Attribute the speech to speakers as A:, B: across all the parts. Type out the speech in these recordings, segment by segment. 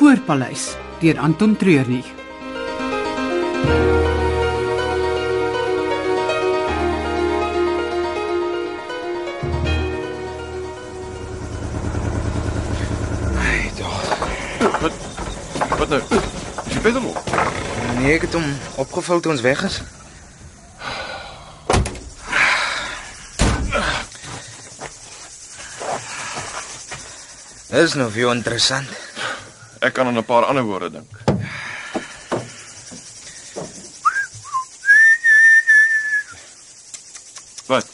A: Voorpaleis deur Anton Treurnig.
B: Ai, tog.
C: Wat wat nou? Is jy beter moeg?
B: Nee, ek het hom opgevou toe ons weg is. Dis nou veel interessant.
C: Ek kan aan 'n paar ander woorde dink. Wat?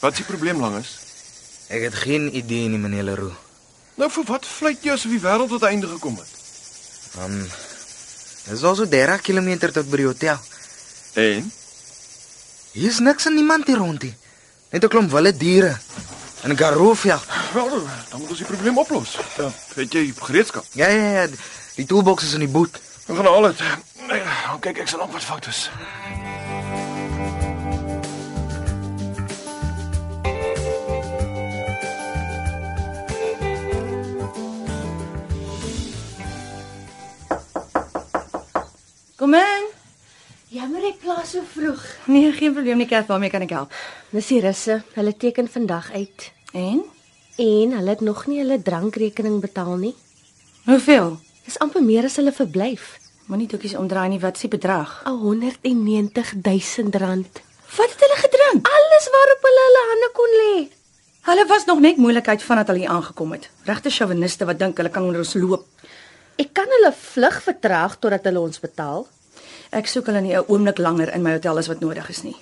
C: Wat is die probleem langes?
B: Ek het geen idee nie, meneer Leroux.
C: Nou vir wat fluit jy asof die wêreld tot 'n einde gekom het?
B: Um, dis al so 30 km tot by die hotel.
C: En
B: Hier's niks en niemand hier rond nie. Net 'n klomp wilde diere. En 'n garoofveld.
C: wel, dan moet ons die probleem oplos. Ja, het jy gereedskap?
B: Ja ja ja, die toolbox is in die boot.
C: Ons gaan al dit. Dan kyk ek se lank wat fout is.
D: Kom in.
E: Jammer ek plaas so vroeg.
D: Nee, geen probleem nie, Kat, waarmee kan ek help?
E: Missie Russe, hulle teken vandag uit
D: En?
E: en hulle het nog nie hulle drankrekening betaal nie.
D: Hoeveel?
E: Dis amper meer as hulle verblyf.
D: Moenie doekies omdraai nie, wat s'e bedrag?
E: Al 190 000 rand.
D: Wat het hulle gedrink?
E: Alles waarop hulle hulle hande kon lê.
D: Hulle was nog net moeilikheid vandat hulle hier aangekom het. Regte chauviniste wat dink hulle kan onder ons loop.
E: Ek kan hulle vlug vertraag totdat hulle ons betaal.
D: Ek soek hulle nie 'n oomblik langer in my hotel as wat nodig is nie.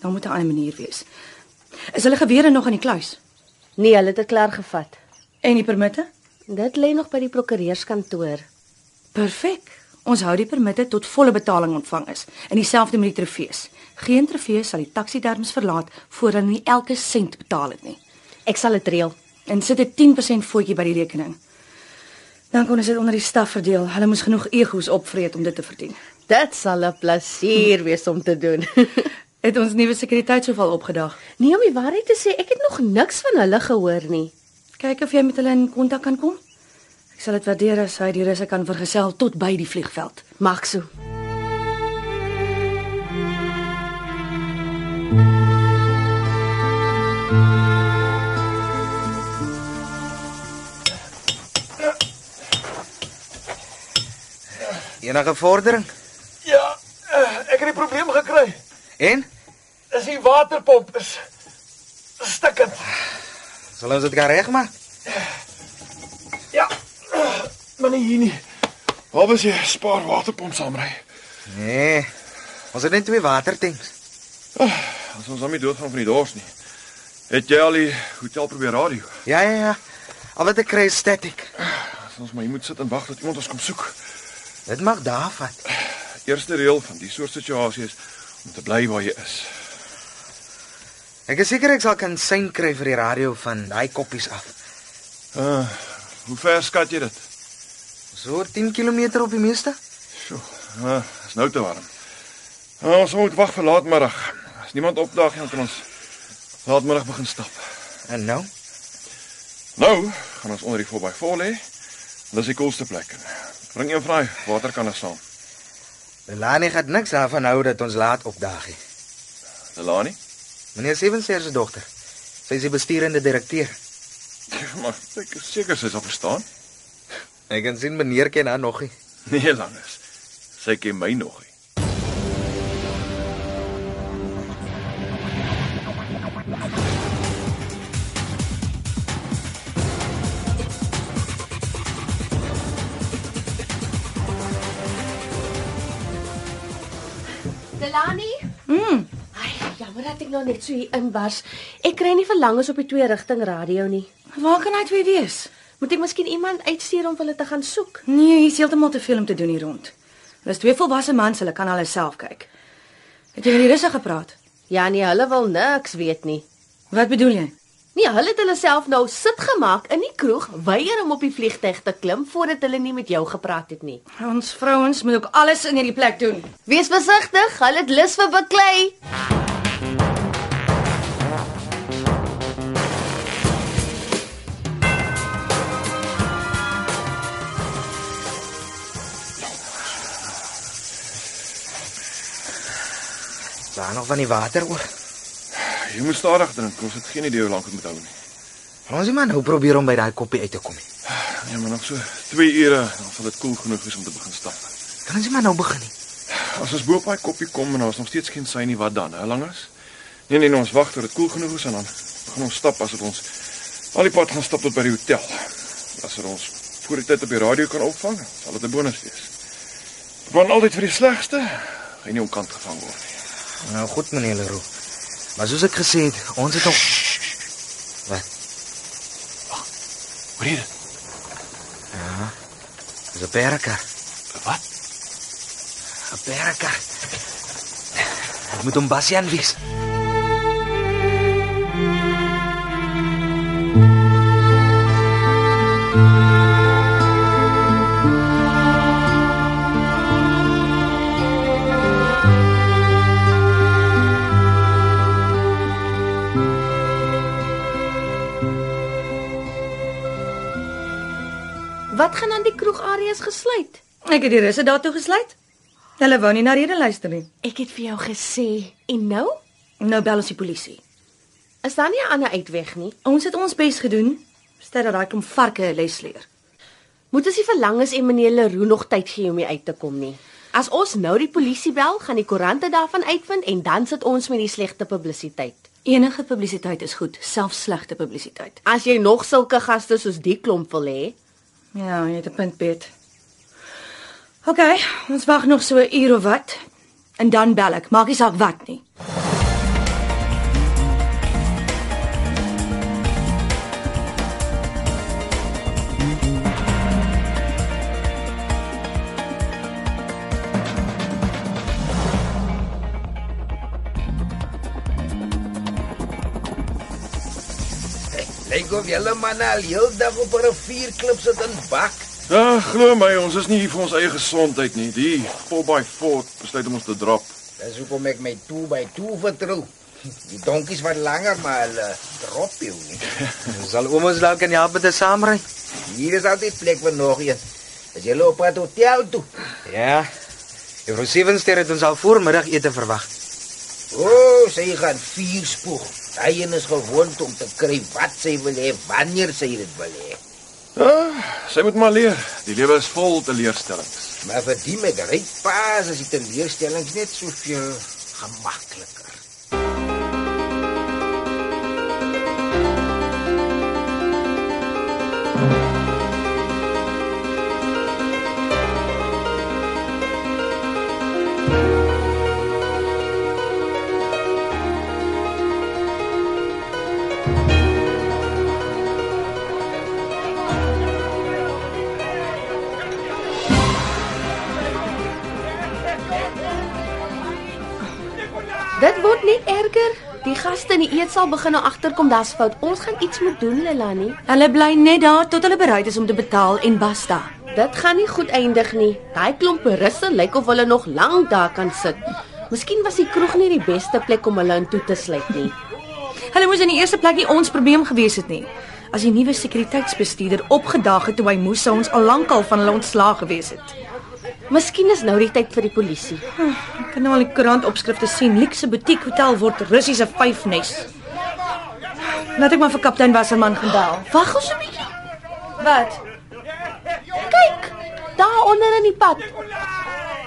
D: Daar moet 'n ander manier wees. Is hulle gewere nog in die kluis?
E: Nee, hulle het dit klaar gevat.
D: En die permitte?
E: Dit lê nog by die prokureurskantoor.
D: Perfek. Ons hou die permitte tot volle betaling ontvang is en dieselfde met die trofees. Geen trofee sal die taksiderms verlaat voor hulle nie elke sent betaal het nie.
E: Ek sal dit reël.
D: en sit 'n 10% voetjie by die rekening. Dan kon ons dit onder die staf verdeel. Hulle moes genoeg egos opvreet om dit te verdien.
E: Dit sal 'n plesier wees om te doen.
D: Het ons nuwe sekuriteitshoofal opgedag.
E: nee, om die waarheid te sê, ek het nog niks van hulle gehoor nie.
D: Kyk of jy met hulle in kontak kan kom. Ek sal dit waardeer as hy die russe kan vergesel tot by die vliegveld.
E: Maak so.
B: Enige vordering?
C: Ja, eh, ek het die probleem gekry.
B: En
C: Is die waterpomp is stikkend.
B: sal ons dit kan regmaak?
C: Ja. Maar nie hier nie. Waar was jy spaar waterpomp saamry?
B: Nee. Ons het net twee watertanks.
C: As ons hom nie doodgaan van die dors nie. Het jy al die hotel probeer radio?
B: Ja ja ja. Al wat ek kry is static.
C: As ons maar hier moet sit en wag dat iemand ons kom soek.
B: Dit mag daar vat.
C: Eerste reël van die soort situasie is om te bly waar jy is.
B: Ek is seker ek sal kan sein kry vir die radio van daai koppies af.
C: Uh, hoe ver skat jy dit?
B: So 10 km op die meeste.
C: Sjoe, uh, is nou te warm. Uh, ons moet wag vir laatmiddag. As niemand opdaag nie, dan kan ons laatmiddag begin stap.
B: En nou,
C: Nou gaan ons onder die voorby voor lê. Dis die koelste plek. Bring een van daai waterkanne er saam.
B: Belani gaan niks daarvan hou dat ons laat opdaag nie.
C: Delani?
B: Meneer Sevenseer se dogter. Sy is die besturende direkteur.
C: Maar ek is seker sy sal verstaan.
B: Ek kan sien meneer ken haar nog nie.
C: Nee, langes. Sy ken my nog nie.
E: Delani? Mm. Ai, jammer dat ek nou net so hier inbars. Ek kry nie verlangens op die twee rigting radio nie.
D: Waar kan hy twee wees?
E: Moet ek miskien iemand uitstuur om vir hulle te gaan soek?
D: Nee, hier is heeltemal te veel om te doen hier rond. Hulle is twee volwasse mans, hulle kan hulle self kyk. Het jy met die russe gepraat?
E: Ja nee, hulle wil niks weet nie.
D: Wat bedoel jy?
E: Nee, hulle het hulle self nou sit gemaak in die kroeg, weier om op die vliegtyg te klim voordat hulle nie met jou gepraat het nie.
D: Ons vrouens moet ook alles in hierdie plek doen.
E: Wees versigtig, hulle het lus vir beklei.
B: Daar nog van die water oor.
C: Ja, Jy moet stadig drink. Ons het geen idee hoe lank dit moet hou nie.
B: Maar ons iemand nou probeer om by daai koppie uit te kom. nie.
C: Ja, maar nog so 2 ure dan sal dit koel genoeg wees om te begin stap.
B: Kan ons iemand nou begin nie?
C: As ons bo op daai koppie kom en daar's nog steeds geen sein nie, wat dan? Hoe lank is? Nee nee, nee, ons wag tot dit koel genoeg is en dan gaan ons stap asof ons al die pad gaan stap tot by die hotel. As er ons voor die tyd op die radio kan opvang, sal dit 'n bonus wees. Beplan altyd vir die slegste, gaan nie om kant gevang word nie.
B: Nou goed meneer Leroux. Maar soos ek gesê het, ons het nog Wat?
C: Hoor hier.
B: Dis 'n perker.
C: Wat?
B: 'n Perker. Ek moet hom Bastian wees.
E: Wat gaan aan die kroegareas gesluit?
D: Ek het die russe daartoe gesluit. Hulle wou nie na rede luister nie.
E: Ek het vir jou gesê. En nou?
D: Nou bel ons die polisie.
E: Is daar nie 'n ander uitweg nie?
D: Ons het ons bes gedoen, stel dat daai klomp varke 'n les leer.
E: Moet ons nie verlangens en meneer Leroux nog tyd gee om hier uit te kom nie. As ons nou die polisie bel, gaan die koerante daarvan uitvind en dan sit ons met die slegte publisiteit.
D: Enige publisiteit is goed, selfs slegte publisiteit.
E: As jy nog sulke gaste soos die klomp wil hê,
D: Ja, jy het 'n punt, Piet. OK, ons wag nog so 'n uur of wat en dan bel ek. Maak nie saak wat nie.
F: Lyk of julle manne al heel dag op 'n vierklip sit en bak.
C: Ja, glo my, ons is nie hier vir ons eie gesondheid nie. Die 4x4 besluit om ons te drop.
F: Dis hoekom ek my 2x2 vertrou. Die donkies wat langer maar hulle drop jou nie.
B: Sal oom ons dalk kan help met 'n saamry?
F: Hier is altyd plek vir nog een. As jy loop pad hotel toe.
B: Ja. Juffrou Sevenster het ons al voormiddagete verwag.
F: O, oh, sy gaan vier spoeg. Hy een is gewoond om te kry wat sy wil hê wanneer sy dit wil hê.
C: Ja, sy moet maar leer. Die lewe is vol teleurstellings.
F: Maar vir die met ryk paas is die teleurstellings net soveel gemakliker.
E: dit word net erger. Die gaste in die eetsaal begin nou agterkom daar's fout. Ons gaan iets moet doen, Lelani.
D: Hulle bly net daar tot hulle bereid is om te betaal en basta.
E: Dit gaan nie goed eindig nie. Daai klomp russe lyk of hulle nog lank daar kan sit. Miskien was die kroeg nie die beste plek om hulle in toe te sluit nie.
D: Hulle moes in die eerste plek nie ons probleem gewees het nie. As die nuwe sekuriteitsbestuurder opgedaag het toe hy moes, sou ons al lankal van hulle ontslaag gewees het.
E: Miskien is nou die tyd vir die polisie.
D: Ek kan nou al die koerantopskrifte sien. Luxe butiek hotel word Russiese vyfnes. Laat ek maar vir kaptein Wasserman gaan bel.
E: Wag ons 'n bietjie.
D: Wat?
E: Kyk, daar onder in die pad.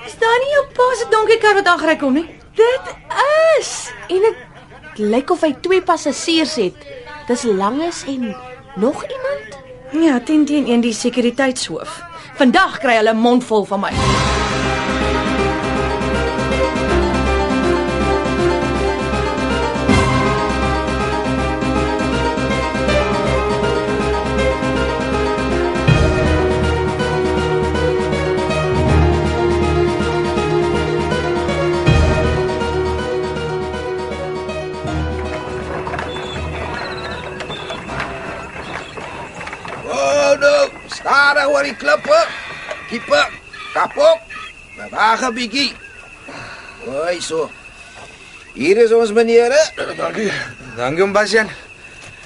D: Is daar nie jou pa se donkiekar wat aangery kom nie?
E: Dit is en dit lyk of hy twee passasiers het. Dis langes en nog iemand.
D: Ja, 10 teen 1 die sekuriteitshoof. Vandag kry hulle 'n mond vol van my.
F: Oh, nou, stadig oor die klippe. Kiepe, kapok. Maar wag 'n bietjie. Hoi so. Hier is ons menere.
C: Dankie.
B: Dankie oom Bastian.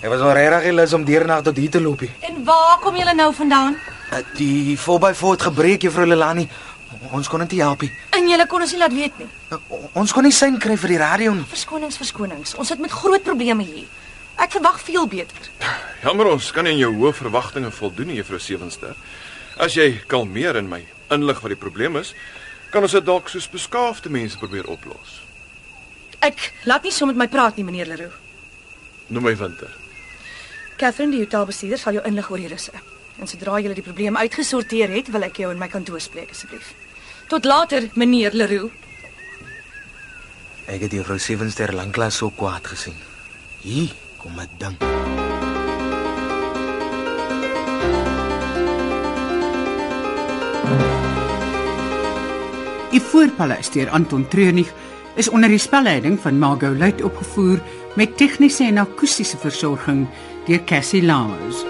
B: Ek was al regtig lus om deernag tot hier te loop. hier.
D: En waar kom julle nou vandaan?
B: Eh, Die 4x4 het gebreek juffrou Lelani. Ons kon dit nie help nie.
D: En julle kon ons nie laat weet nie.
B: O- Ons kon nie sein kry vir die radio nie.
D: Verskonings, verskonings. Ons sit met groot probleme hier. Ek verwag veel beter.
C: Jammer ons kan nie aan jou hoë verwagtinge voldoen nie, Juffrou Sewenster. As jy kalmeer en my inlig wat die probleem is, kan ons dit dalk soos beskaafde mense probeer oplos.
D: Ek laat nie so met my praat nie, meneer Leroux.
C: Noem my winter.
D: Catherine, die hotelbestuurder sal jou inlig oor die russe. En sodra jy die probleem uitgesorteer het, wil ek jou in my kantoor spreek asseblief. Tot later, meneer Leroux.
B: Ek het juffrou Sevenster lanklaas so kwaad gesien. Hier kom 'n ding.
A: Die voorpaleis deur Anton Treurnig is onder die spelleiding van Margot Luit opgevoer met tegniese en akoestiese versorging deur Cassie Lamas.